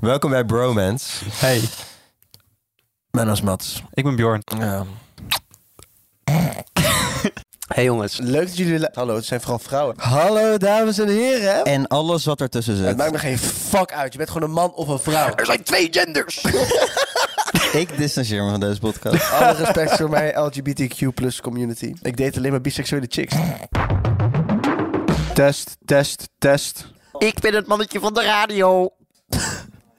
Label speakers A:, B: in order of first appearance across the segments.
A: Welkom bij Bromance.
B: Hey,
A: Mijn naam is Mats.
B: ik ben Bjorn.
A: Ja.
B: Hey jongens.
C: Leuk dat jullie... lu- Hallo, het zijn vooral vrouwen.
A: Hallo dames en heren.
C: Hè?
A: En alles wat ertussen
C: Het maakt
A: zit.
C: me geen fuck uit. Je bent gewoon een man of een vrouw.
B: zijn twee genders.
A: Ik distancieer me van deze podcast.
C: Alle respect voor mijn LGBTQ community. Ik date alleen maar biseksuele chicks.
B: Test, test, test.
D: Ik ben het mannetje van de radio.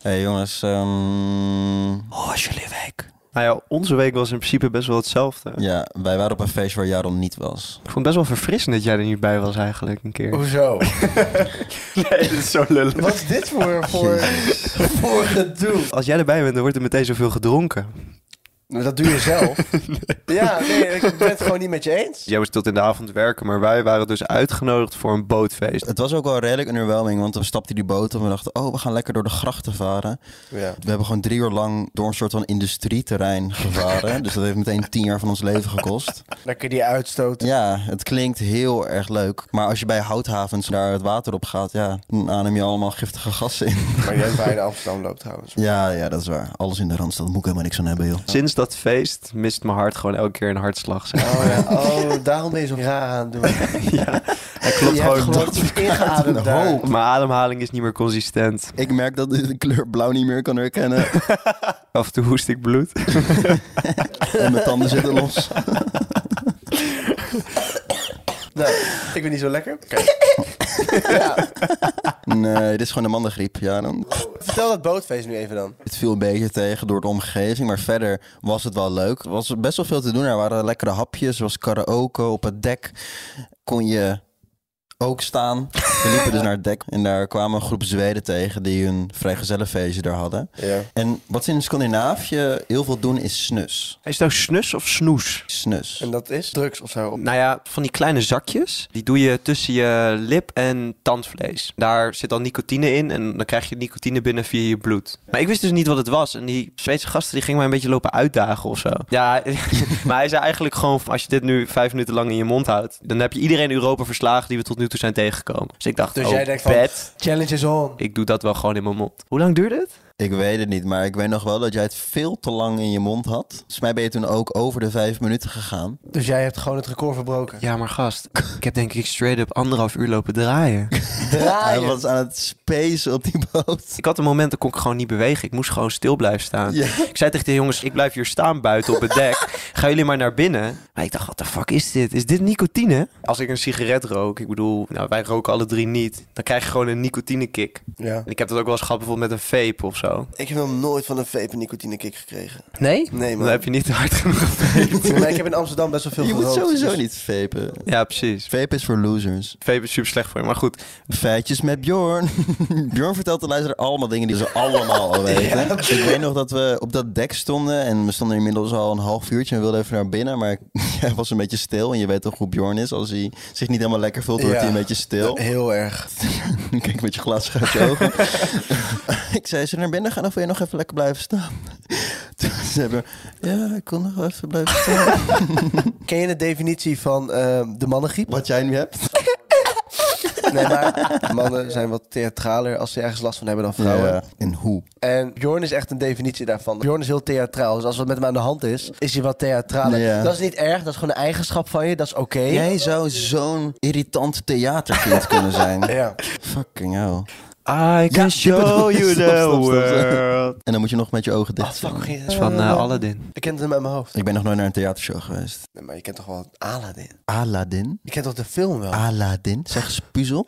A: hey jongens, ehm,
C: Oh, is jullie week.
B: Nou ja, onze week was in principe best wel hetzelfde.
A: ja, wij waren op een feest waar Jaron niet was.
B: Ik vond het best wel verfrissend dat jij er niet bij was eigenlijk een keer.
C: Hoezo?
B: Nee, dat is zo lullig.
C: Wat is dit voor, voor, voor gedoe?
B: Als jij erbij bent, dan wordt er meteen zoveel gedronken.
C: Nou, dat doe je zelf. Ja, nee, ik ben het gewoon niet met je eens.
B: Jij was tot in de avond werken, maar wij waren dus uitgenodigd voor een bootfeest.
A: Het was ook wel redelijk underwhelming, want we stapten die boot en we dachten, oh, we gaan lekker door de grachten varen.
C: Ja.
A: We hebben gewoon drie uur lang door een soort van industrieterrein gevaren. dus dat heeft meteen tien jaar van ons leven gekost.
C: Dan kun je die uitstoten.
A: Ja, het klinkt heel erg leuk. Maar als je bij houthavens daar het water op gaat, ja, dan adem je allemaal giftige gassen in.
C: Maar jij bij in Amsterdam loopt trouwens.
A: Ja, ja, dat is waar. Alles in de randstad moet ik helemaal niks aan hebben, joh.
B: Sinds dat feest mist mijn hart gewoon elke keer een hartslag. zeg.
C: Oh, ja. oh, daarom ben je zo raar aan het doen.
B: ja, hij klopt
C: je hebt
B: gewoon.
C: gewoon iets ingeademd daar.
A: hoop.
B: Mijn ademhaling is niet meer consistent.
A: Ik merk dat ik de kleur blauw niet meer kan herkennen.
B: Af en toe hoest ik bloed.
A: en mijn tanden zitten los.
C: Nou, ik ben niet zo lekker.
A: Nee, dit is gewoon de mandengriep. Ja, dan...
C: Vertel dat bootfeest nu even dan.
A: Het viel een beetje tegen door de omgeving. Maar verder was het wel leuk. Er was best wel veel te doen. Er waren lekkere hapjes. Er was karaoke op het dek. Kon je ook staan. We liepen dus naar het dek. En daar kwamen een groep Zweden tegen die hun vrijgezellenfeestje daar hadden.
C: Ja.
A: En wat ze in Scandinavië heel veel doen is snus.
B: Hij is nou snus of snoes?
A: Snus.
C: En dat is drugs of zo.
B: Nou ja, van die kleine zakjes. Die doe je tussen je lip en tandvlees. Daar zit dan nicotine in en dan krijg je nicotine binnen via je bloed. Maar ik wist dus niet wat het was. En die Zweedse gasten die gingen mij een beetje lopen uitdagen of zo. Ja, maar hij zei eigenlijk gewoon... van, als je dit nu vijf minuten lang in je mond houdt... dan heb je iedereen in Europa verslagen die we tot nu toe zijn tegengekomen. Dus ik dacht,
C: Dus
B: oh,
C: jij denkt van-
B: bet,
C: Challenge is on.
B: ik doe dat wel gewoon in mijn mond. Hoe lang duurde het?
A: Ik weet het niet, maar ik weet nog wel dat jij het veel te lang in je mond had. Volgens mij ben je toen ook over de vijf minuten gegaan.
C: Dus jij hebt gewoon het record verbroken.
B: Ja, maar gast, ik heb denk ik straight up anderhalf uur lopen draaien.
A: Hij
C: Draaien.
A: was aan het spacen op die boot.
B: Ik had een moment dat kon ik gewoon niet bewegen. Ik moest gewoon stil blijven staan.
A: Ja.
B: Ik zei tegen de jongens, ik blijf hier staan buiten op het dek. Gaan jullie maar naar binnen. Maar ik dacht, wat de fuck is dit? Is dit nicotine? Als ik een sigaret rook, ik bedoel, nou, wij roken alle drie niet. Dan krijg je gewoon een nicotinekick.
C: Ja.
B: En ik heb dat ook wel eens gehad bijvoorbeeld met een vape of zo.
C: Ik heb nog nooit van een vape een nicotine kick gekregen.
B: Nee?
C: Nee,
B: Dan heb je niet te hard genoeg.
C: maar ik heb in Amsterdam best wel veel
A: Je moet
C: gerookt.
A: sowieso
C: dus-
A: niet vapen.
B: Ja, precies.
A: Vape is voor losers.
B: Vape is super slecht voor je. Maar goed,
A: Feitjes met Bjorn. Bjorn vertelt de luisteraar allemaal dingen die ze allemaal al weten. Ik weet nog dat we op dat dek stonden. En we stonden inmiddels al een half uurtje en we wilden even naar binnen. Maar hij was een beetje stil. En je weet toch hoe Bjorn is. Als hij zich niet helemaal lekker voelt, wordt
C: Ja.
A: hij een beetje stil.
C: Heel erg.
A: Kijk met je glas uit je ogen. ik zei, ze naar binnen gaan of wil je nog even lekker blijven staan? Toen ze hebben, ja, ik kon nog wel even blijven staan.
C: Ken je de definitie van ehm, de mannengriep?
A: Wat jij nu hebt.
C: Nee, maar mannen zijn wat theatraler als ze ergens last van hebben dan vrouwen.
A: En Nou, eh, hoe?
C: En Bjorn is echt een definitie daarvan. Bjorn is heel theatraal. Dus als wat met hem aan de hand is, is hij wat theatraler.
A: Ja.
C: Dat is niet erg. Dat is gewoon een eigenschap van je. Dat is oké.
A: Jij zou zo'n irritant theaterkind kunnen zijn.
C: Ja.
A: Fucking hell.
B: I can
A: Ja,
B: show you
A: stop, stop,
B: the
A: stop, stop.
B: world.
A: En dan moet je nog met je ogen
C: Ah,
A: dicht doen.
C: fuck. geen-
B: Van eh, Aladdin.
C: Ik kent hem uit mijn hoofd.
A: Ik ben nog nooit naar een theatershow geweest.
C: Nee, maar je kent toch wel Aladdin?
A: Aladdin?
C: Je kent toch de film wel?
A: Aladdin? Zeg eens Ah, puzzel.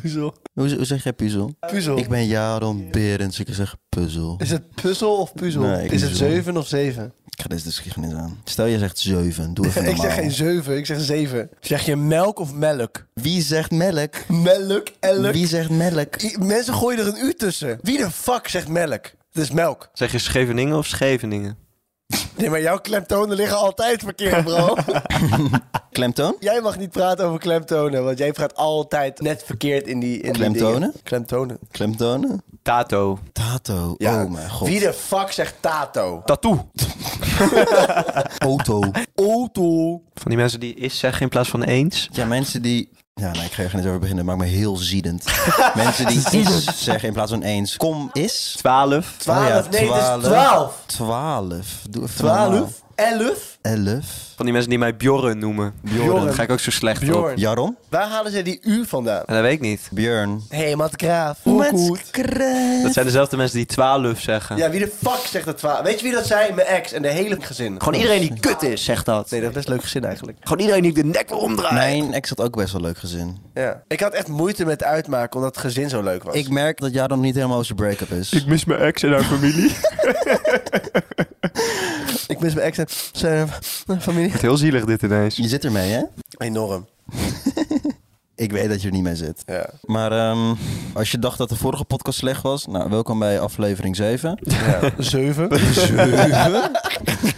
C: puzzel.
A: Hoe, hoe zeg jij puzzel?
C: Puzzel.
A: Ik ben Jaron Berends. Ik zeg puzzel.
C: Is het puzzel of puzzel?
A: Nee, ik
C: is het
A: puzzel.
C: zeven of zeven?
A: Ik ga deze discussie niet aan. Stel je zegt zeven. Doe even
C: ik
A: normaal.
C: zeg geen zeven, ik zeg zeven. Zeg je melk of melk?
A: Wie zegt melk?
C: Melk, elk.
A: Wie zegt melk?
C: I- Mensen gooien er een u tussen. Wie de fuck zegt melk? Het is melk.
B: Zeg je Scheveningen of Scheveningen?
C: Nee, maar jouw klemtonen liggen altijd verkeerd, bro.
A: Klemtoon?
C: jij mag niet praten over klemtonen, want jij praat altijd net verkeerd in die in die
A: Klemtonen?
C: dingen. klemtonen.
A: Klemtonen?
B: Tato.
A: Tato.
C: Ja.
A: Oh mijn god. Oh
C: Wie de fuck zegt tato?
B: Tattoo.
A: Auto.
C: Auto.
B: Van die mensen die is zeggen in plaats van eens.
A: Ja, mensen die Ja, nee, ik ga er geen eens over beginnen. Het maakt me heel ziedend. Mensen die is zeggen in plaats van eens. Kom is.
B: 12.
C: Twaalf,
A: Oh ja,
C: nee, het
A: twaalf.
C: is twaalf.
A: Twaalf. Doe even normaal.
C: Twaalf, elf.
A: Elf.
B: Van die mensen die mij Bjorn noemen.
C: Bjorn.
B: Daar ga ik ook zo slecht op.
C: Bjorn.
A: Jarom?
C: Waar halen zij die U vandaan?
B: En dat weet ik niet.
A: Björn.
C: Helemaal te graaf.
A: Met
C: Goed.
B: Dat
A: kruid.
B: zijn dezelfde mensen die 12 zeggen.
C: Ja, wie de fuck zegt dat twaalf? Weet je wie dat zei? Mijn ex en de hele gezin.
D: Gewoon iedereen die kut is, zegt dat.
C: Nee, dat is best leuk gezin eigenlijk.
D: Gewoon iedereen die de nek wil omdraaien.
A: Mijn ex had ook best wel leuk gezin.
C: Ja. Ik had echt moeite met uitmaken omdat het gezin zo leuk was.
A: Ik merk dat Jarom niet helemaal zijn break-up is.
B: mis mijn ex en haar familie.
C: ik mis mijn ex en zijn eh, familie.
B: Heel zielig dit ineens.
A: Je zit ermee, hè?
C: Enorm.
A: Ik weet dat je er niet mee zit.
C: Ja.
A: Maar ehm, als je dacht dat de vorige podcast slecht was, nou, welkom bij aflevering 7.
C: ja. Zeven. Zeven.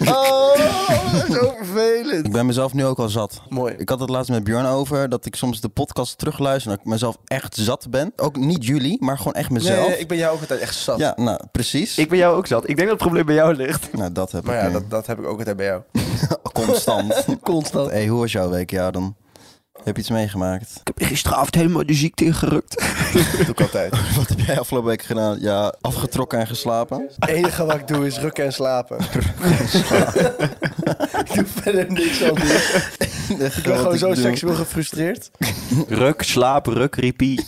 C: oh, dat is zo vervelend.
A: Ik ben mezelf nu ook al zat.
C: Mooi.
A: Ik had het laatst met Björn over dat ik soms de podcast terugluister en dat ik mezelf echt zat ben. Ook niet jullie, maar gewoon echt mezelf.
C: Nee, ik ben jou ook altijd echt zat.
A: Ja, nou, precies.
B: Ik ben jou ook zat. Ik denk dat het probleem bij jou ligt.
A: Nou, dat heb
C: Maar
A: ik
C: ja,
A: nu.
C: dat, dat heb ik ook altijd bij jou.
A: constant.
C: Constant.
A: hey, hoe was jouw week, Jaron? Heb je iets meegemaakt?
D: Ik heb gisteravond helemaal de ziekte ingerukt.
C: Dat doe ik altijd.
A: Wat heb jij afgelopen week gedaan? Ja, afgetrokken en geslapen.
C: Het enige wat ik doe is rukken en slapen. ik doe verder niks anders. Ik ben gewoon zo seksueel gefrustreerd.
B: Ruk, slaap, ruk, repeat.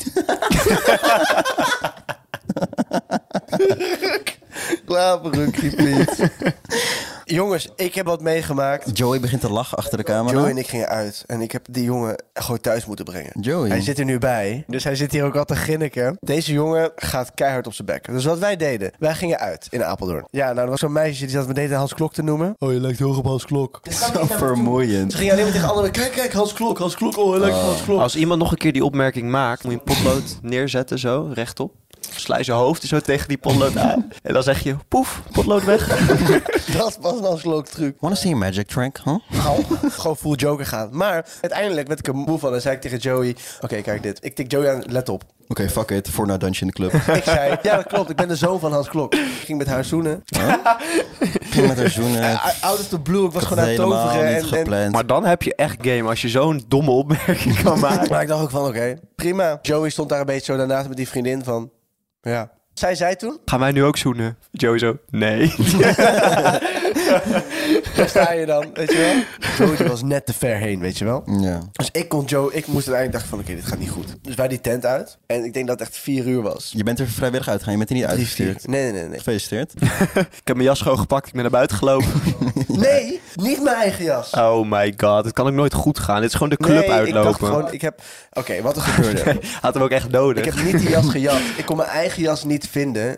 C: Slapen, rukkie, Piet. Jongens, ik heb wat meegemaakt.
A: Joey begint te lachen achter de camera.
C: Joe en ik gingen uit en ik heb die jongen gewoon thuis moeten brengen.
A: Joey.
C: Hij zit er nu bij, dus hij zit hier ook al te grinniken. Deze jongen gaat keihard op zijn bek. Dus wat wij deden, wij gingen uit in Apeldoorn. Ja, nou, er was zo'n meisje die zat me de hele tijd Hans Klok te noemen. Oh, je lijkt heel erg op Hans Klok.
A: Zo vermoeiend.
C: Ze ging alleen maar tegen anderen, kijk, kijk, Hans Klok, Hans Klok, oh, hij lijkt op Hans Klok.
B: Als iemand nog een keer die opmerking maakt, moet je een potlood neerzetten zo, rechtop. Sla je hoofd zo tegen die potlood aan. En dan zeg je, poef, potlood weg.
C: Dat was een Hans Klok truc.
A: Wanna see a magic trick, huh?
C: Au. gewoon full joker gaan. Maar uiteindelijk werd ik er moe van en zei ik tegen Joey... Oké, kijk dit. Ik tik Joey aan, let op.
A: Oké, fuck it. Voor naar Dansje in de club.
C: Ik zei, ja dat klopt, ik ben de zoon van Hans Klok. Ik ging met haar zoenen.
A: Ging met haar zoenen.
C: Eh, Out of the blue, ik was
A: Ik had
C: gewoon aan
A: het
C: het
A: helemaal
C: toveren.
A: niet
C: En, en,
A: gepland.
B: Maar dan heb je echt game als je zo'n domme opmerking kan maken.
C: maar ik dacht ook van, oké, prima. Joey stond daar een beetje zo daarnaast met die vriendin van... Ja. Zij zei toen,
B: Gaan wij nu ook zoenen? Joey zo, nee.
C: daar sta je dan, weet je wel. Joey die was net te ver heen, weet je wel.
A: ja.
C: Dus ik kon Joe, ik moest uiteindelijk dachten van, oké, dit gaat niet goed. Dus wij die tent uit. En ik denk dat het echt vier uur was.
A: Je bent er vrijwillig uitgegaan. Je bent er niet
C: Drie, vier.
A: uitgestuurd.
C: Nee, nee, nee. nee.
A: Gefeliciteerd.
B: Ik heb mijn jas gewoon gepakt, ik ben naar buiten gelopen.
C: Nee, niet mijn eigen jas.
B: Oh my god, het kan ook nooit goed gaan. Dit is gewoon de club
C: Nee,
B: uitlopen.
C: ik dacht gewoon, ik heb... Oké, wat er gebeurde.
B: Had hem ook echt nodig.
C: ik heb niet die jas gejat. Ik kon mijn eigen jas niet vinden.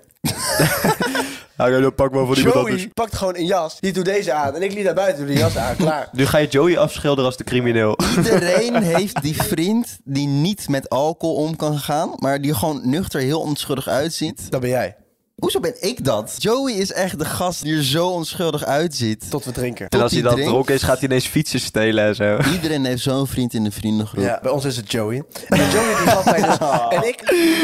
B: Ah, ja, dan pak maar voor iemand anders.
C: Joey pakt gewoon een jas. Die doet deze aan. En ik liet daar buiten doe de jas aan. Klaar.
B: Nu ga je Joey afschilderen als de crimineel.
A: Iedereen heeft die vriend die niet met alcohol om kan gaan, maar die gewoon nuchter heel onschuldig uitziet.
C: Dat ben jij.
A: Hoezo ben ik dat? Joey is echt de gast die er zo onschuldig uitziet.
C: Tot we drinken.
B: En als
A: die
B: hij dan
A: drinkt.
B: dronken is, gaat hij ineens fietsen stelen en zo.
A: Iedereen heeft zo'n vriend in de vriendengroep.
C: Ja, bij ons is het Joey. En Joey die gaf mij dus... En ik,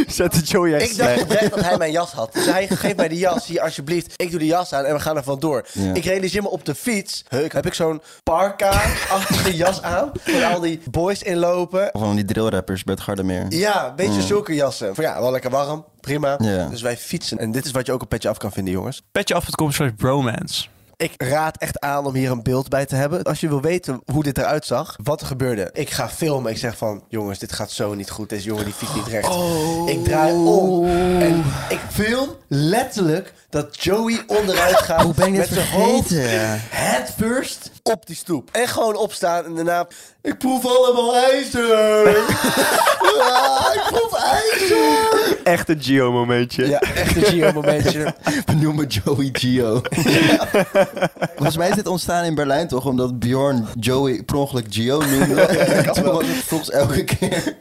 B: Zet de Joey echt
C: ik dacht
B: slecht.
C: oprecht dat hij mijn jas had. Dus hij geeft mij die jas. Hier, alsjeblieft. Ik doe die jas aan en we gaan er vandoor.
A: Ja.
C: Ik realiseer me op de fiets. Heuk, heb ik zo'n parka-achtige jas aan. Waar al die boys in lopen.
A: Of van die drillrappers bij het Gardameer.
C: Ja, een beetje zulke jassen. Van ja, wel lekker warm. Prima.
A: Mm. Ja.
C: Dus wij fietsen. En dit is wat je ook een petje af kan vinden, jongens.
B: Petje af, het komt van bromance.
C: Ik raad echt aan om hier een beeld bij te hebben. Als je wil weten hoe dit eruit zag, wat er gebeurde. Ik ga filmen. Ik zeg van, jongens, dit gaat zo niet goed. Deze jongen die fietst niet recht.
A: Oh.
C: Ik draai om. En ik film letterlijk dat Joey onderuit gaat.
A: Hoe ben ik dit
C: met zijn hoofd
A: vergeten?
C: head first op die stoep. En gewoon opstaan en daarna... Ik proef allemaal ijzer. Ah, ik proef ijzer.
B: Echt een Gio-momentje.
C: Ja, echt een Gio-momentje.
A: We noemen Joey Gio. Volgens mij is dit ontstaan in Berlijn toch, omdat Bjorn Joey per ongeluk Gio noemde. En toen was het volgens elke keer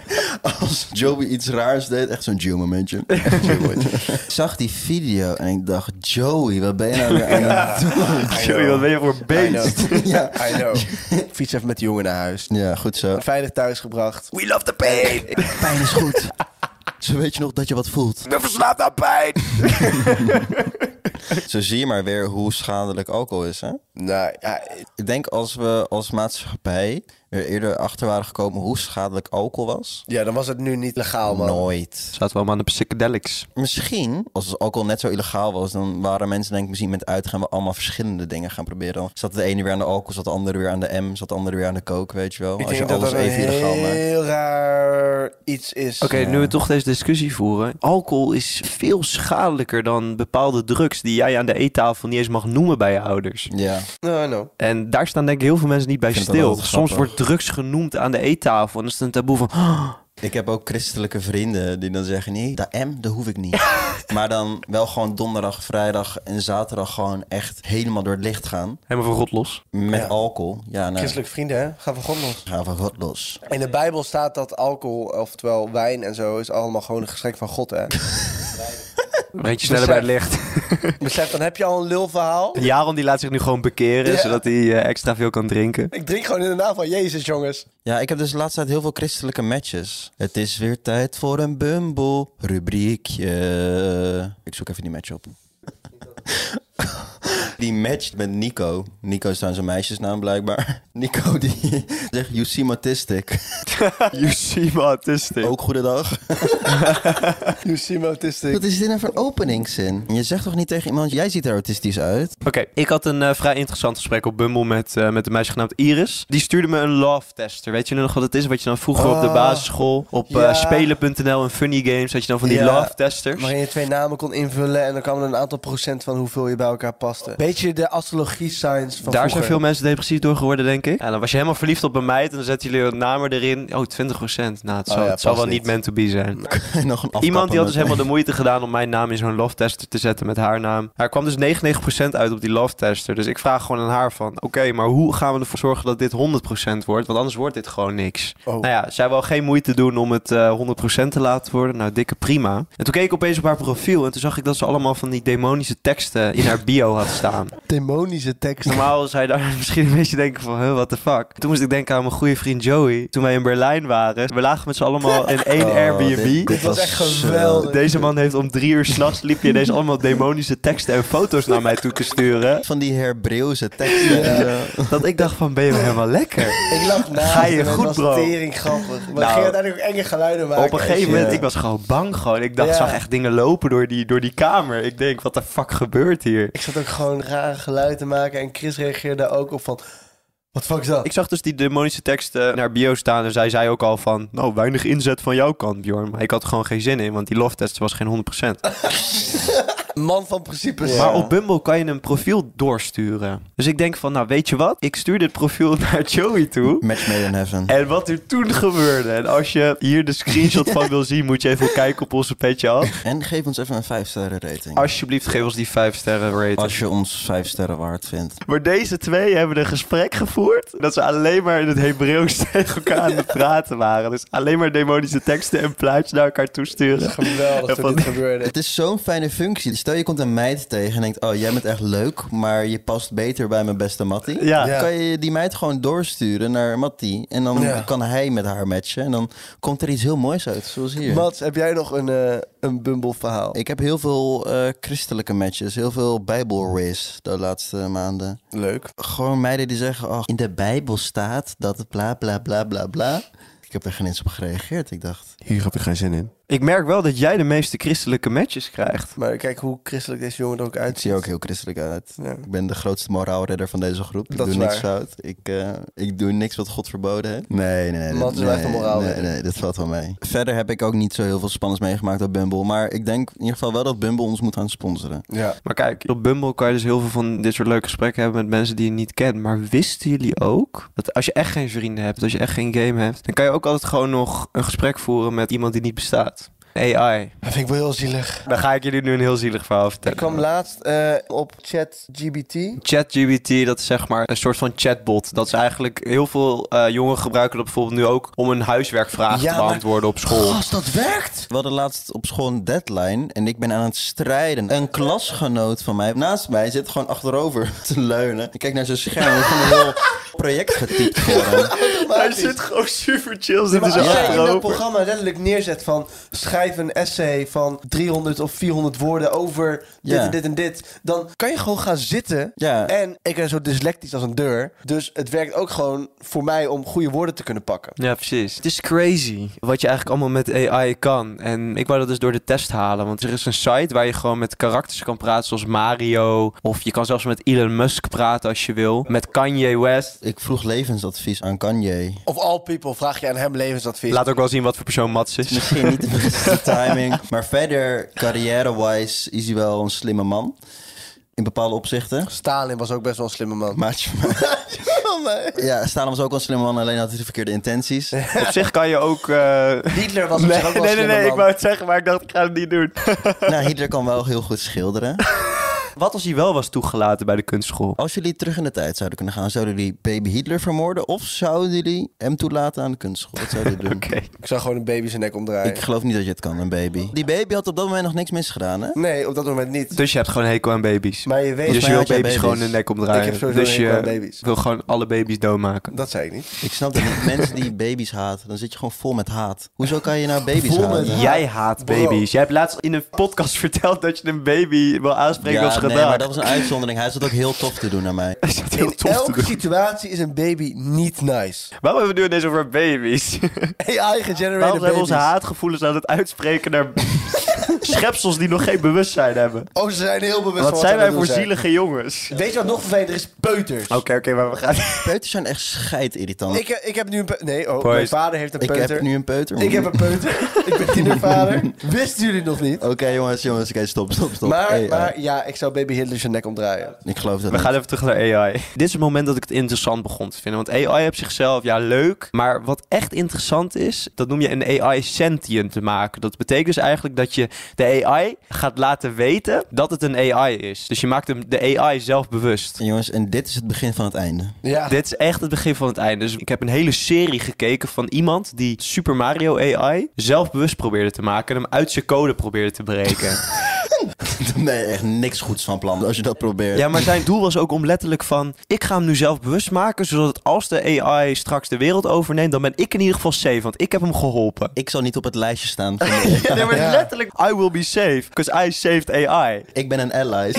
A: als Joey iets raars deed, echt zo'n Gio-momentje. ik zag die video en ik dacht, Joey, wat ben je nou weer aan het doen?
B: Joey, wat ben je voor
C: I
B: beest?
C: know.
A: Ja.
C: I know. Ik Fiets even met die jongen naar huis.
A: Ja, goed zo.
C: Veilig thuis gebracht.
D: We love the pain.
A: Pijn is goed. Zo weet je nog dat je wat voelt.
D: We verslaafd aan pijn.
A: Zo zie je maar weer hoe schadelijk alcohol is, hè?
C: Nou ja,
A: Ik denk als we als maatschappij er eerder achter waren gekomen hoe schadelijk alcohol was.
C: Ja, dan was het nu niet legaal, man.
A: Nooit.
B: Zaten we allemaal aan de psychedelics.
A: Misschien, als alcohol net zo illegaal was, dan waren mensen denk ik misschien met uitgaan we allemaal verschillende dingen gaan proberen. Dan zat de ene weer aan de alcohol, zat de andere weer aan de M, zat de andere weer aan de coke, weet je wel.
C: Ik
A: als je
C: denk dat
A: alles
C: dat een
A: even illegaal maakt.
C: heel raar iets is.
B: Oké, nu we toch deze discussie voeren. Alcohol is veel schadelijker dan bepaalde drugs die jij aan de eettafel niet eens mag noemen bij je ouders.
A: Ja,
C: No, no.
B: En daar staan denk ik heel veel mensen niet bij
A: vind dat
B: stil.
A: altijd
B: Soms
A: grappig.
B: wordt drugs genoemd aan de eettafel en dat is het een taboe van... "Oh,
A: ik heb ook christelijke vrienden die dan zeggen, nee, dat M, dat hoef ik niet. maar dan wel gewoon donderdag, vrijdag en zaterdag gewoon echt helemaal door het licht gaan.
B: helemaal van rot los.
A: Met
C: Ja.
A: alcohol. Ja, nou,
C: Christelijke vrienden, hè? Ga van God los.
A: ga van God los.
C: In de Bijbel staat dat alcohol, oftewel wijn en zo, is allemaal gewoon een geschenk van God, hè?
B: Rentje sneller bij het licht.
C: Besef, dan heb je al een lulverhaal.
B: Jaron die laat zich nu gewoon bekeren,
C: Ja.
B: zodat hij eh, extra veel kan drinken.
C: Ik drink gewoon in de naam van Jezus, jongens.
A: Ja, ik heb dus de laatste tijd heel veel christelijke matches. Het is weer tijd voor een bumble rubriekje. Ik zoek even die match op. Die matcht met Nico. Nico is trouwens een meisjesnaam blijkbaar. Nico die zegt, you seem autistic.
B: You see my autistic.
A: Ook goedendag.
C: You seem autistic.
A: Wat is dit nou voor een openingszin? Je zegt toch niet tegen iemand, jij ziet er autistisch uit?
B: Oké, ik had een eh, vrij interessant gesprek op Bumble met, eh, met een meisje genaamd Iris. Die stuurde me een love tester. Weet je nog wat het is? Wat je dan vroeger op de
C: Ah,
B: basisschool, op eh,
C: ja.
B: spelen.nl en Funny Games, had je dan van die
C: Ja,
B: love testers.
C: Waarin je twee namen kon invullen en dan kwam er een aantal procent van hoeveel je bij elkaar paste. Beetje de astrologie-signs van
B: Daar zijn
C: vroeger.
B: veel mensen depressief door geworden, denk ik. En dan was je helemaal verliefd op een meid en dan zetten jullie een naam erin. Oh, 20 Nou, het zal,
C: Oh ja,
B: het zal
C: past
B: wel niet
C: niet.
B: meant to be zijn.
A: Nog een
B: Iemand die had dus
A: met-
B: helemaal de moeite gedaan om mijn naam in zo'n love tester te zetten met haar naam. Hij kwam dus 99% uit op die love tester. Dus ik vraag gewoon aan haar van, oké, maar hoe gaan we ervoor zorgen dat dit 100% wordt? Want anders wordt dit gewoon niks.
C: Oh.
B: Nou ja, zij wou geen moeite doen om het eh 100% te laten worden. Nou, dikke prima. En toen keek ik opeens op haar profiel en toen zag ik dat ze allemaal van die demonische teksten in haar bio had staan.
C: Demonische teksten.
B: Dus Normaal zou je daar misschien een beetje denken van, huh, what the fuck. Toen moest ik denken aan mijn goede vriend Joey. Toen wij in Berlijn waren, we lagen met z'n allemaal in één
A: Oh,
B: Airbnb.
A: dit- dit
C: Dit was echt
A: zo-
C: geweldig.
B: Deze man heeft om drie uur s'nachts liep je ineens allemaal demonische teksten en foto's naar mij toe te sturen.
A: Van die Hebreeuwse teksten. en zo.
B: Dat ik dacht van, ben je wel helemaal lekker?
C: Ik lag naast
B: Ga je
C: hem en
B: goed,
C: was
B: bro?
C: tering grappig. Maar
B: Nou,
C: ging je daar ook enge geluiden maken?
B: Op een gegeven moment,
A: Ja.
B: ik was gewoon bang gewoon. Ik dacht,
C: Ja.
B: zag echt dingen lopen door die, door die kamer. Ik denk, wat de fuck gebeurt hier?
C: Ik zat ook gewoon rare geluiden te maken en Chris reageerde daar ook op van... Wat fuck is dat?
B: Ik zag dus die demonische teksten naar bio staan en zij zei ook al van, nou, weinig inzet van jouw kant, Bjorn. Maar ik had er gewoon geen zin in, want die love test was geen 100%.
C: Man van principes.
B: Maar op Bumble kan je een profiel doorsturen. Dus ik denk van, nou, weet je wat? Ik stuur dit profiel naar Joey toe.
A: Match made in heaven.
B: En wat er toen gebeurde. En als je hier de screenshot van wil zien, moet je even kijken op onze petje af.
A: En geef ons even een 5 sterren rating.
B: Alsjeblieft, geef ons die 5 sterren rating.
A: Als je ons vijf sterren waard vindt.
B: Maar deze twee hebben een gesprek gevoerd. Dat ze alleen maar in het Hebreeuws tegen elkaar aan het praten waren. Dus alleen maar demonische teksten en plaatjes naar elkaar toesturen.
C: Geweldig
B: Ja,
C: toen
B: van-
C: dit gebeurde.
A: Het is zo'n fijne functie. Dus Stel je komt een meid tegen en denkt: Oh, jij bent echt leuk, maar je past beter bij mijn beste Mattie.
B: Ja.
A: Dan kan je die meid gewoon doorsturen naar Mattie. En dan
C: Ja.
A: kan hij met haar matchen. En dan komt er iets heel moois uit, zoals hier.
C: Mats, heb jij nog een, eh, een Bumble verhaal?
A: Ik heb heel veel eh, christelijke matches, heel veel Bijbelrace de laatste maanden.
C: Leuk.
A: Gewoon meiden die zeggen: Oh, in de Bijbel staat dat bla bla bla bla bla. Ik heb er geen eens op gereageerd. Ik dacht.
C: Hier heb ik geen zin in.
B: Ik merk wel dat jij de meeste christelijke matches krijgt.
C: Maar kijk hoe christelijk deze jongen er
A: Ik
C: ook
A: zie
C: uitziet.
A: er ook heel christelijk uit.
C: Ja.
A: Ik ben de grootste moraalredder van deze groep. Ik
C: Dat
A: doe
C: is
A: niks
C: waar.
A: fout. Ik, eh, ik doe niks wat God verboden heeft. Nee, nee, nee.
C: Man,
A: dat-
C: het is wel echt een
A: nee,
C: moraalredder.
A: nee, nee, dat valt wel mee. Verder heb ik ook niet zo heel veel spannends meegemaakt op Bumble. Maar ik denk in ieder geval wel dat Bumble ons moet gaan sponsoren.
C: Ja.
B: Maar kijk, op Bumble kan je dus heel veel van dit soort leuke gesprekken hebben met mensen die je niet kent. Maar wisten jullie ook dat als je echt geen vrienden hebt, als je echt geen game hebt, dan kan je ook altijd gewoon nog een gesprek voeren met iemand die niet bestaat? AI.
C: Dat vind ik wel heel zielig.
B: Dan ga ik jullie nu een heel zielig verhaal
C: Ik
B: vertellen.
C: kwam laatst eh, op chat GBT.
B: ChatGPT, dat is zeg maar een soort van chatbot. Dat is eigenlijk heel veel eh, jongeren gebruiken dat bijvoorbeeld nu ook om een huiswerkvraag
C: Ja,
B: te
C: maar-
B: beantwoorden op school.
C: dat werkt!
A: We hadden laatst op school een deadline en ik ben aan het strijden. Een klasgenoot van mij naast mij zit gewoon achterover te leunen. Ik kijk naar zijn scherm, er is gewoon een heel project getypt voor hem.
B: Hij
C: problematisch.
B: zit gewoon super chill. Zit
C: Maar
B: hij
C: als
B: zo
C: jij in dat
B: achterover.
C: programma letterlijk neerzet van schrijf een essay van 300 of 400 woorden over dit
A: Ja.
C: en dit en dit, dan kan je gewoon gaan zitten.
A: Ja.
C: En ik ben zo dyslectisch als een deur, dus het werkt ook gewoon voor mij om goede woorden te kunnen pakken.
B: Ja, precies. Het is crazy wat je eigenlijk allemaal met AI kan. En ik wou dat dus door de test halen. Want er is een site waar je gewoon met karakters kan praten, zoals Mario. Of je kan zelfs met Elon Musk praten als je wil. Met Kanye West.
A: Ik vroeg levensadvies aan Kanye.
C: Of all people vraag je aan hem levensadvies.
B: Laat ook wel zien wat voor persoon Mats is.
A: Misschien niet de beste timing. Maar verder, carrière-wise, is hij wel een slimme man. In bepaalde opzichten.
C: Stalin was ook best wel een slimme man.
A: Maatje van mij.
C: Oh,
A: Ja, Stalin was ook wel een slimme man, alleen had hij de verkeerde intenties.
B: Op zich kan je ook... eh,
C: Hitler was op
B: Nee,
C: zich ook wel een
B: nee, nee,
C: slimme
B: nee, ik
C: man.
B: wou het zeggen, maar ik dacht, ik ga het niet doen.
A: Nou, Hitler kan wel heel goed schilderen.
B: Wat als hij wel was toegelaten bij de kunstschool?
A: Als jullie terug in de tijd zouden kunnen gaan, zouden jullie baby Hitler vermoorden? Of zouden jullie hem toelaten aan de kunstschool? Wat zouden jullie doen?
B: Oké.
C: Ik zou gewoon een baby zijn nek omdraaien.
A: Ik geloof niet dat je het kan, een baby. Die baby had op dat moment nog niks misgedaan, hè?
C: Nee, op dat moment niet.
B: Dus je hebt gewoon een hekel aan baby's.
C: Maar je weet,
B: dus je
A: mij
B: wil
A: had jij
B: baby's,
A: baby's.
B: gewoon hun nek omdraaien.
C: Ik heb sowieso
B: dus
C: een hekel
B: je
C: aan baby's.
B: wil gewoon alle baby's doodmaken.
C: dat zei ik niet.
A: Ik snap dat niet. Mensen die baby's haten, dan zit je gewoon vol met haat. Hoezo kan je nou baby's
C: Vol met
A: haten?
C: haat.
B: Jij haat
C: Bro.
B: baby's. Jij hebt laatst in een podcast verteld dat je een baby wil aanspreken als
A: nee,
B: gedaan.
A: maar dat was een uitzondering. Hij zat ook heel tof te doen naar mij.
B: Is dat heel
C: In
B: tof te
C: elke
B: doen?
C: situatie is een baby niet nice.
B: Waarom hebben we nu ineens over baby's?
C: AI
B: Waarom
C: generated
B: zijn we onze
C: babies.
B: haatgevoelens aan het uitspreken naar schepsels die nog geen bewustzijn hebben?
C: Oh, ze zijn heel bewust
B: Wat
C: van
B: zijn
C: ze aan
B: wij
C: het
B: voor
C: doen zijn.
B: zielige jongens?
C: Weet je wat nog vervelender is? Peuters.
B: Oké, oké, maar we gaan...
A: Peuters zijn echt scheidirritant.
C: Ik, heb- ik heb nu een pe- Nee, oh,
B: Boys.
C: mijn vader heeft een
A: Ik
C: peuter.
A: heb nu een peuter.
C: Ik heb een peuter. ik ben tienervader. Wisten jullie nog niet?
A: Oké, jongens, jongens. Oké, stop, stop, stop.
C: Maar,
A: Hey, eh,
C: maar ja, ik zou baby Hitler zijn nek omdraaien.
A: ik geloof dat
B: We
A: niet.
B: gaan even terug naar AI. Dit is het moment dat ik het interessant begon te vinden. Want AI op zichzelf, ja, leuk. Maar wat echt interessant is, dat noem je een AI sentient te maken. Dat betekent dus eigenlijk dat je de AI gaat laten weten dat het een AI is. Dus je maakt hem de AI zelf bewust.
A: Jongens, en dit is het begin van het einde.
C: Ja.
B: Dit is echt het begin van het einde. Dus ik heb een hele serie gekeken van iemand die Super Mario AI zelfbewust probeerde te maken en hem uit zijn code probeerde te breken.
A: Nee, echt niks goeds van plan als je dat probeert.
B: Ja, maar zijn doel was ook om letterlijk van... ik ga hem nu zelf bewust maken... zodat het als de AI straks de wereld overneemt... dan ben ik in ieder geval safe, want ik heb hem geholpen.
A: Ik zal niet op het lijstje staan. van de-
B: Ja, nee, maar
C: Ja.
B: letterlijk... I will be safe, because I saved AI.
A: ik ben een ally.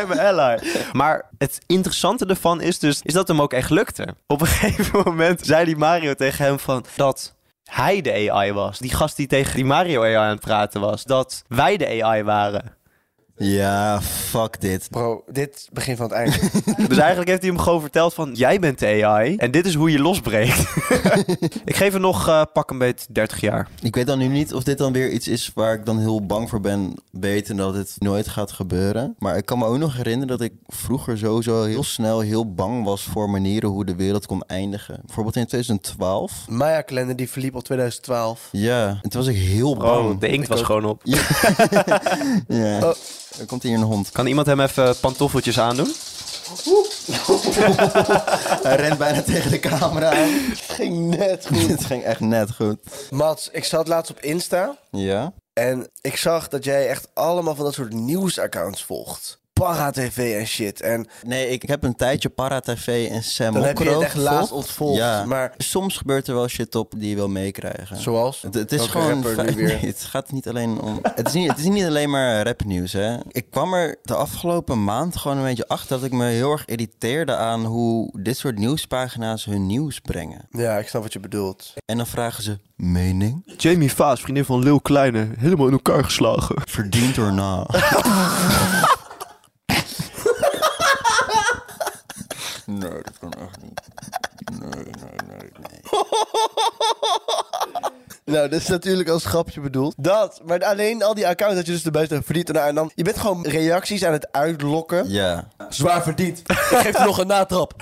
B: I'm an ally. Maar het interessante ervan is dus... is dat hem ook echt lukte. Op een gegeven moment zei die Mario tegen hem van... dat hij de AI was. Die gast die tegen die Mario AI aan het praten was. Dat wij de AI waren.
A: Ja, fuck dit.
C: Bro, dit is het begin van het einde.
B: Dus eigenlijk heeft hij hem gewoon verteld van... jij bent de AI en dit is hoe je losbreekt. ik geef hem nog eh, pak een beetje 30 jaar.
A: Ik weet dan nu niet of dit dan weer iets is waar ik dan heel bang voor ben, weten dat het nooit gaat gebeuren. Maar ik kan me ook nog herinneren dat ik vroeger sowieso heel snel heel bang was voor manieren hoe de wereld kon eindigen. Bijvoorbeeld in 2012.
C: Maya-kalender die verliep op 2012.
A: Ja, en toen was ik heel
C: Oh.
A: bang.
B: Bro, de inkt was gewoon op.
A: Ja.
C: Oh.
A: Er komt hier een hond.
B: Kan iemand hem even pantoffeltjes aandoen?
A: Hij rent bijna tegen de camera aan.
C: Ging net
A: Het ging echt net goed.
C: Mats, ik zat laatst op Insta.
A: Ja?
C: En ik zag dat jij echt allemaal van dat soort nieuwsaccounts volgt. Para TV en shit. En
A: Nee, ik heb een tijdje ParaTV en Sam
C: dan heb je
A: Mokro
C: het echt
A: gevolgd.
C: laatst ontvolgd.
A: Ja.
C: Maar
A: Soms gebeurt er wel shit op die je wil meekrijgen.
C: zoals?
A: Het, het is
C: Welke
A: gewoon.
C: rapper nu
A: fe-
C: weer?
A: nee, het gaat niet alleen om. Het is niet, het is niet alleen maar rapnieuws, hè? Ik kwam er de afgelopen maand gewoon een beetje achter dat ik me heel erg irriteerde aan hoe dit soort nieuwspagina's hun nieuws brengen.
C: Ja, ik snap wat je bedoelt.
A: En dan vragen ze: mening?
B: Jamie Vaas, vriendin van Lil Kleine. Helemaal in elkaar geslagen.
A: Verdiend or not? nee, dat kan echt niet.
C: Nou, dat is natuurlijk als grapje bedoeld. Dat, maar alleen al die accounts dat je dus erbij staat verdient. En dan, je bent gewoon reacties aan het uitlokken.
A: Ja.
C: Zwaar verdiend. Ik geef je nog een natrap.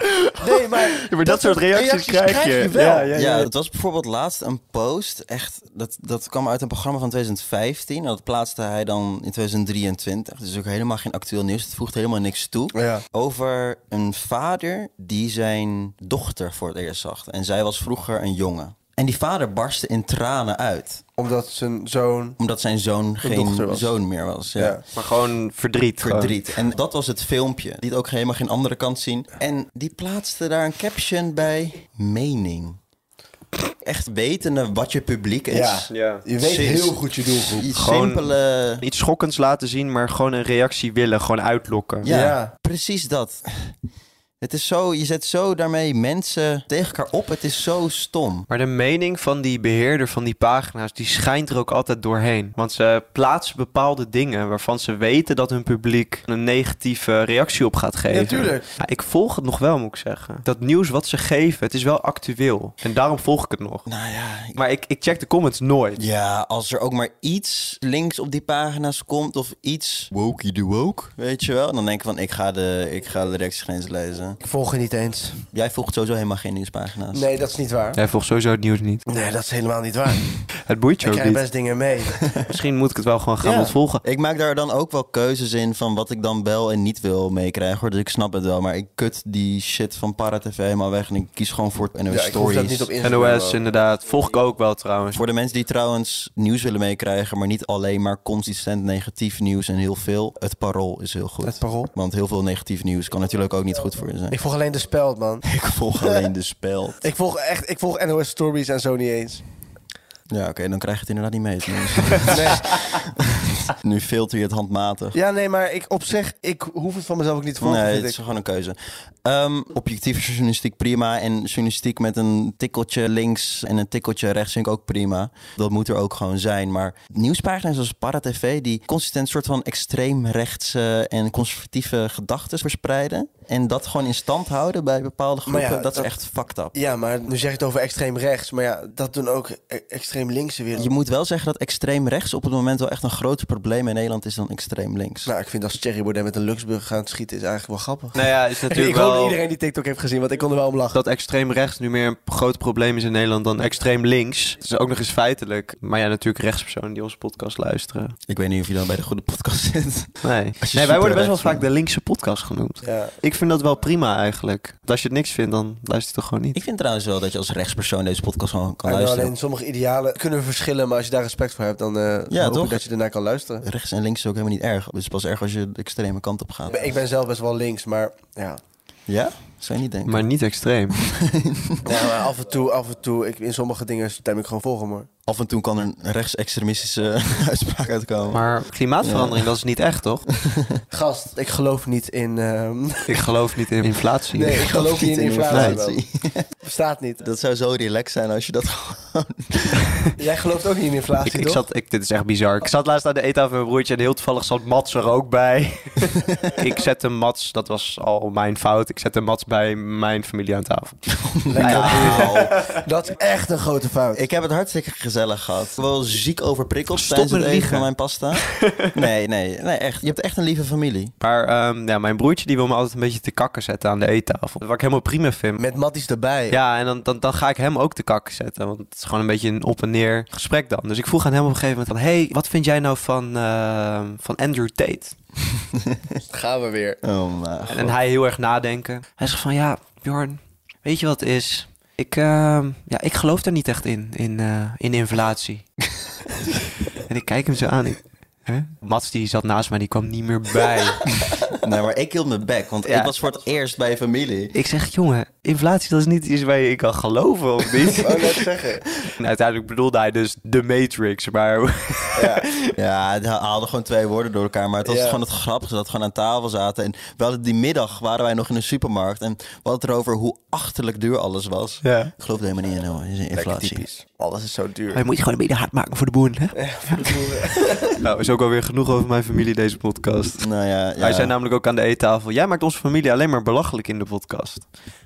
C: Nee, maar...
B: maar dat soort reacties krijg je.
C: wel.
B: Ja, ja.
A: Ja, het was bijvoorbeeld laatst een post. Echt, dat, dat kwam uit een programma van 2015. En dat plaatste hij dan in 2023. Dus ook helemaal geen actueel nieuws. Het voegt helemaal niks toe.
C: Ja.
A: Over een vader die zijn dochter voor het eerst zag. En zij was vroeger een jongen. En die vader barstte in tranen uit.
C: Omdat zijn zoon...
A: Omdat zijn zoon
C: dochter
A: geen
C: was.
A: zoon meer was. Ja.
C: Ja.
B: Maar gewoon verdriet. gewoon.
A: Verdriet. En dat was het filmpje. Die het ook helemaal geen andere kant zien. En die plaatste daar een caption bij. Mening. Echt wetende wat je publiek is.
C: Ja.
B: Ja.
C: Je weet
A: Sinds-
C: heel goed je doelgroep.
A: Iets
B: Gewoon-
A: simpele...
B: Iets schokkends laten zien, maar gewoon een reactie willen. Gewoon uitlokken.
A: Ja,
C: Ja.
A: precies dat. Het is zo, je zet zo daarmee mensen tegen elkaar op. Het is zo stom.
B: Maar de mening van die beheerder van die pagina's, die schijnt er ook altijd doorheen. Want ze plaatsen bepaalde dingen waarvan ze weten dat hun publiek een negatieve reactie op gaat geven.
C: Ja, tuurlijk.
B: Ja, ik volg het nog wel, moet ik zeggen. Dat nieuws wat ze geven, het is wel actueel. En daarom volg ik het nog.
A: Nou ja, ik-
B: Maar ik, ik check de comments nooit.
A: ja, als er ook maar iets links op die pagina's komt of iets... Wokey de woke, weet je wel. Dan denk ik van, ik ga de, ik ga de rechtstreeks lezen.
C: Ik volg je niet eens.
A: Jij volgt sowieso helemaal geen nieuwspagina's.
C: Nee, dat is niet waar.
B: Jij volgt sowieso het nieuws niet.
C: Nee, dat is helemaal niet waar.
B: Het boeit je
C: Ik
B: ook
C: krijg
B: niet.
C: best dingen mee.
B: Misschien moet ik het wel gewoon gaan
A: Ja.
B: ontvolgen.
A: Ik maak daar dan ook wel keuzes in van wat ik dan wel en niet wil meekrijgen. hoor. Dus ik snap het wel. Maar ik kut die shit van ParaTV helemaal weg. En ik kies gewoon voor NOS
C: Ja, ik hoef dat
A: Stories.
C: niet op Instagram.
B: NOS, inderdaad. Volg ik ook wel trouwens.
A: Voor de mensen die trouwens nieuws willen meekrijgen, maar niet alleen maar consistent negatief nieuws en heel veel. Het parool is heel goed.
C: Het parool.
A: Want heel veel negatief nieuws kan natuurlijk ook niet goed voor je zijn.
C: Ik volg alleen de speld, man.
A: Ik volg alleen de spel.
C: Ik volg echt, ik volg NOS Stories en zo niet eens.
A: Ja, oké, dan krijg je het inderdaad niet mee.
C: Nee.
A: nu filter je het handmatig.
C: Ja, nee, maar ik op zich, ik hoef het van mezelf ook niet te volgen,
A: Nee,
C: vind
A: het is
C: ik.
A: gewoon een keuze. Ehm objectieve journalistiek prima. En journalistiek met een tikkeltje links en een tikkeltje rechts vind ik ook prima. Dat moet er ook gewoon zijn. Maar nieuwspagina's zoals ParaTV... die consistent soort van extreemrechtse en conservatieve gedachten verspreiden. En dat gewoon in stand houden bij bepaalde
C: Maar ja,
A: groepen. dat,
C: dat-
A: is echt fucked up.
C: Ja, maar nu zeg je het over extreem rechts, maar ja, dat doen ook e- extreem linkse weer.
A: Je moet wel zeggen dat extreem rechts op het moment wel echt een groter probleem in Nederland is dan extreem links.
C: Nou, ik vind als Thierry Baudet met een Luxburg gaan schieten is eigenlijk wel grappig.
B: Nou ja, is natuurlijk
C: ik hoop dat
B: wel...
C: iedereen die TikTok heeft gezien, want ik kon er wel om lachen.
B: dat extreem rechts nu meer een groot probleem is in Nederland dan extreem links. Het is ook nog eens feitelijk. Maar ja, natuurlijk rechtspersonen die onze podcast luisteren.
A: Ik weet niet of je dan bij de goede podcast zit.
B: Nee, nee wij
A: super
B: worden best wel
A: rechts
B: vaak
A: bent.
B: de linkse podcast genoemd.
C: Ja.
B: Ik vind dat wel prima eigenlijk. Want als je het niks vindt, dan luister je toch gewoon niet.
A: Ik vind trouwens wel dat je als rechtspersoon deze podcast gewoon kan
C: En
A: luisteren.
C: alleen sommige idealen kunnen verschillen, maar als je daar respect voor hebt, dan eh hoop ik
A: toch?
C: dat je daarna kan luisteren.
A: rechts en links is ook helemaal niet erg. Het is pas erg als je de extreme kant op gaat.
C: Ik ben zelf best wel links, maar ja.
A: Ja? Zou je niet denken.
B: Maar niet extreem.
C: ja Nou, maar af en toe, af en toe, ik, in sommige dingen stem ik gewoon volgen, maar...
A: Af en toe kan er een rechtsextremistische uitspraak uitkomen.
B: Maar klimaatverandering, dat is niet echt, toch?
C: Gast, ik geloof niet in... ehm,
B: Ik geloof niet in inflatie.
C: Nee, ik geloof niet in inflatie.
A: inflatie.
C: Bestaat niet.
A: Dat zou zo relaxed zijn als je dat gewoon...
C: Jij gelooft ook niet in inflatie,
B: Ik, ik
C: toch?
B: zat, ik, dit is echt bizar. Ik zat laatst aan de eettafel met mijn broertje en heel toevallig zat Mats er ook bij. ik zette Mats, dat was al mijn fout, ik zette Mats bij mijn familie aan tafel.
C: Lekker.
A: Wauw.
C: Dat is echt een grote fout.
A: Ik heb het hartstikke gezellig gehad. Wel ziek overprikkeld
B: Stop
A: tijdens het
B: met
A: eten
B: liegen.
A: van mijn pasta. Nee, nee, nee, echt. Je hebt echt een lieve familie.
B: Maar ehm, ja, mijn broertje die wil me altijd een beetje te kakken zetten aan de eettafel. Wat ik helemaal prima vind.
C: Met Matties erbij.
B: Ja, en dan, dan, dan ga ik hem ook te kakken zetten. Want het is gewoon een beetje een op en neer gesprek dan. Dus ik vroeg aan hem op een gegeven moment van... hey, wat vind jij nou van, ehm, van Andrew Tate?
C: Gaan we weer.
A: Oh, maar.
B: En, en hij heel erg nadenken. Hij zegt van, ja, Bjorn, weet je wat het is? Ik, ehm, ja, ik geloof daar niet echt in, in, eh, in inflatie. en ik kijk hem zo aan. Ik, hè? Mats die zat naast mij, die kwam niet meer bij.
A: Nee, maar ik hield mijn bek, want
B: Ja.
A: ik was voor het eerst bij familie.
B: ik zeg, jongen, inflatie dat is niet iets waar je in kan geloven of niet.
C: Wou net zeggen.
B: En uiteindelijk bedoelde hij dus de Matrix, maar...
A: Ja, het haalde gewoon twee woorden door elkaar. Maar het was
C: Ja.
A: gewoon het grappige dat we gewoon aan tafel zaten. En we hadden die middag waren wij nog in de supermarkt. En we hadden het erover hoe achterlijk duur alles was.
B: Ja.
A: Ik geloof er helemaal niet in, hoor. Het is een inflatie.
C: Alles is zo duur.
B: Hij moet je gewoon een beetje hard maken voor de boeren, hè? Nou, is ook alweer genoeg over mijn familie deze podcast.
A: Nou ja, ja.
B: Hij zei namelijk ook aan de eettafel... Jij maakt onze familie alleen maar belachelijk in de podcast.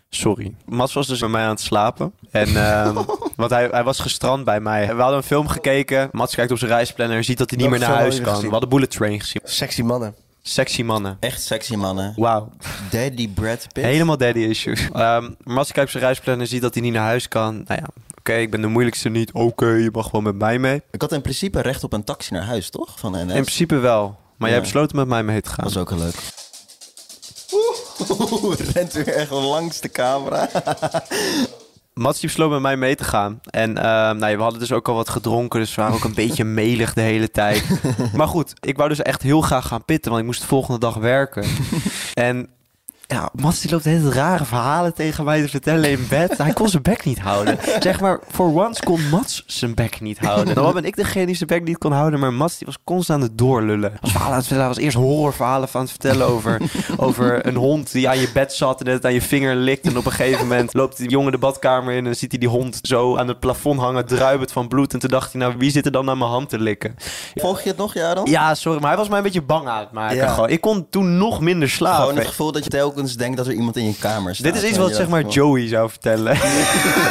B: Sorry. Mats was dus bij mij aan het slapen. En, ehm, want hij, hij was gestrand bij mij. We hadden een film gekeken. Mats kijkt op zijn reisplanner en ziet dat hij niet
C: Welke
B: meer naar
C: film
B: huis
C: hebben
B: kan.
C: we
B: We hadden Bullet Train gezien.
C: Sexy mannen.
B: Sexy mannen.
A: Echt sexy mannen.
B: Wauw.
A: Daddy Brad Pitt.
B: Helemaal daddy issues. Ehm maar als ik op zijn reisplanner zie dat hij niet naar huis kan. Nou ja, oké, ik ben de moeilijkste niet. Oké, je mag gewoon met mij mee.
A: Ik had in principe recht op een taxi naar huis, toch? Van NS.
B: In principe wel. Maar jij
A: Ja.
B: besloot met mij mee te gaan.
A: Dat was ook wel leuk. Oeh, rent u echt langs de camera.
B: Mats die besloot met mij mee te gaan. En eh, nou, ja, we hadden dus ook al wat gedronken, dus we waren ook een beetje melig de hele tijd. Maar goed, ik wou dus echt heel graag gaan pitten, want ik moest de volgende dag werken. en ja, Mats die loopt hele rare verhalen tegen mij te vertellen in bed. Hij kon zijn bek niet houden. Zeg maar, voor once kon Mats zijn bek niet houden. Dan ben ik degene die zijn bek niet kon houden, maar Mats die was constant aan het doorlullen. Was verhalen aan het vertellen, Hij was eerst horrorverhalen van het vertellen over, over een hond die aan je bed zat en het aan je vinger likt. En op een gegeven moment loopt die jongen de badkamer in en dan ziet hij die hond zo aan het plafond hangen, druibend van bloed. En toen dacht hij, nou wie zit er dan aan mijn hand te likken?
A: Volg je het nog, Jaron?
B: Ja, sorry, maar hij was mij een beetje bang aan het maken.
C: Ja.
B: gewoon. Ik kon toen nog minder slapen.
A: Gewoon het gevoel dat je telkens denkt dat er iemand in je kamer staat.
B: Dus Dit is iets
A: Weet
B: wat
A: je
B: zeg
A: dat
B: maar
A: gevoel?
B: Joey zou vertellen.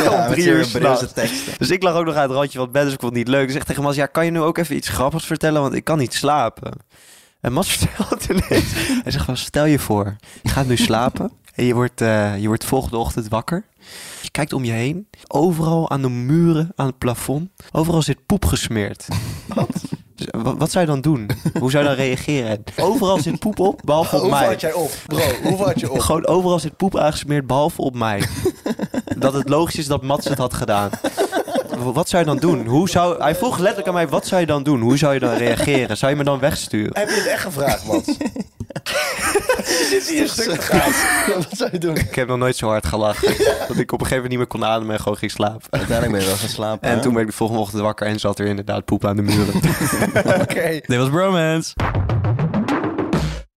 A: Ja,
B: om drie
A: met
B: uur
A: zijn Hebreeuwse
B: s'nachts.
A: teksten.
B: Dus ik lag ook nog aan het randje van het bed, dus ik vond het niet leuk. Dus ik zeg tegen Mas, ja, kan je nu ook even iets grappigs vertellen? Want ik kan niet slapen. En Mas vertelt ineens. Hij zegt van, stel je voor, je gaat nu slapen. En je wordt, eh, je wordt volgende ochtend wakker. Je kijkt om je heen. Overal aan de muren, aan het plafond. Overal zit poep gesmeerd. Dus, eh, Wat? Wat zou je dan doen? Hoe zou je dan reageren? Overal zit poep op, behalve op
C: Hoeveel
B: mij.
C: had jij op? Bro, hoeveel had je op?
B: Gewoon overal zit poep aangesmeerd, behalve op mij. dat het logisch is dat Mats het had gedaan. W- Wat zou je dan doen? Hoe zou... Hij vroeg letterlijk aan mij, wat zou je dan doen? Hoe zou je dan reageren? Zou je me dan wegsturen?
C: Heb je het echt gevraagd, man? je zit hier een stuk te gaan. Wat zou je doen?
B: Ik heb nog nooit zo hard gelachen. dat ik op een gegeven moment niet meer kon ademen en gewoon ging slapen.
A: Uiteindelijk ben je wel gaan slapen.
B: En
A: hè?
B: toen ben ik de volgende ochtend wakker en zat er inderdaad poep aan de muren.
C: Oké.
B: Dit was Bromance.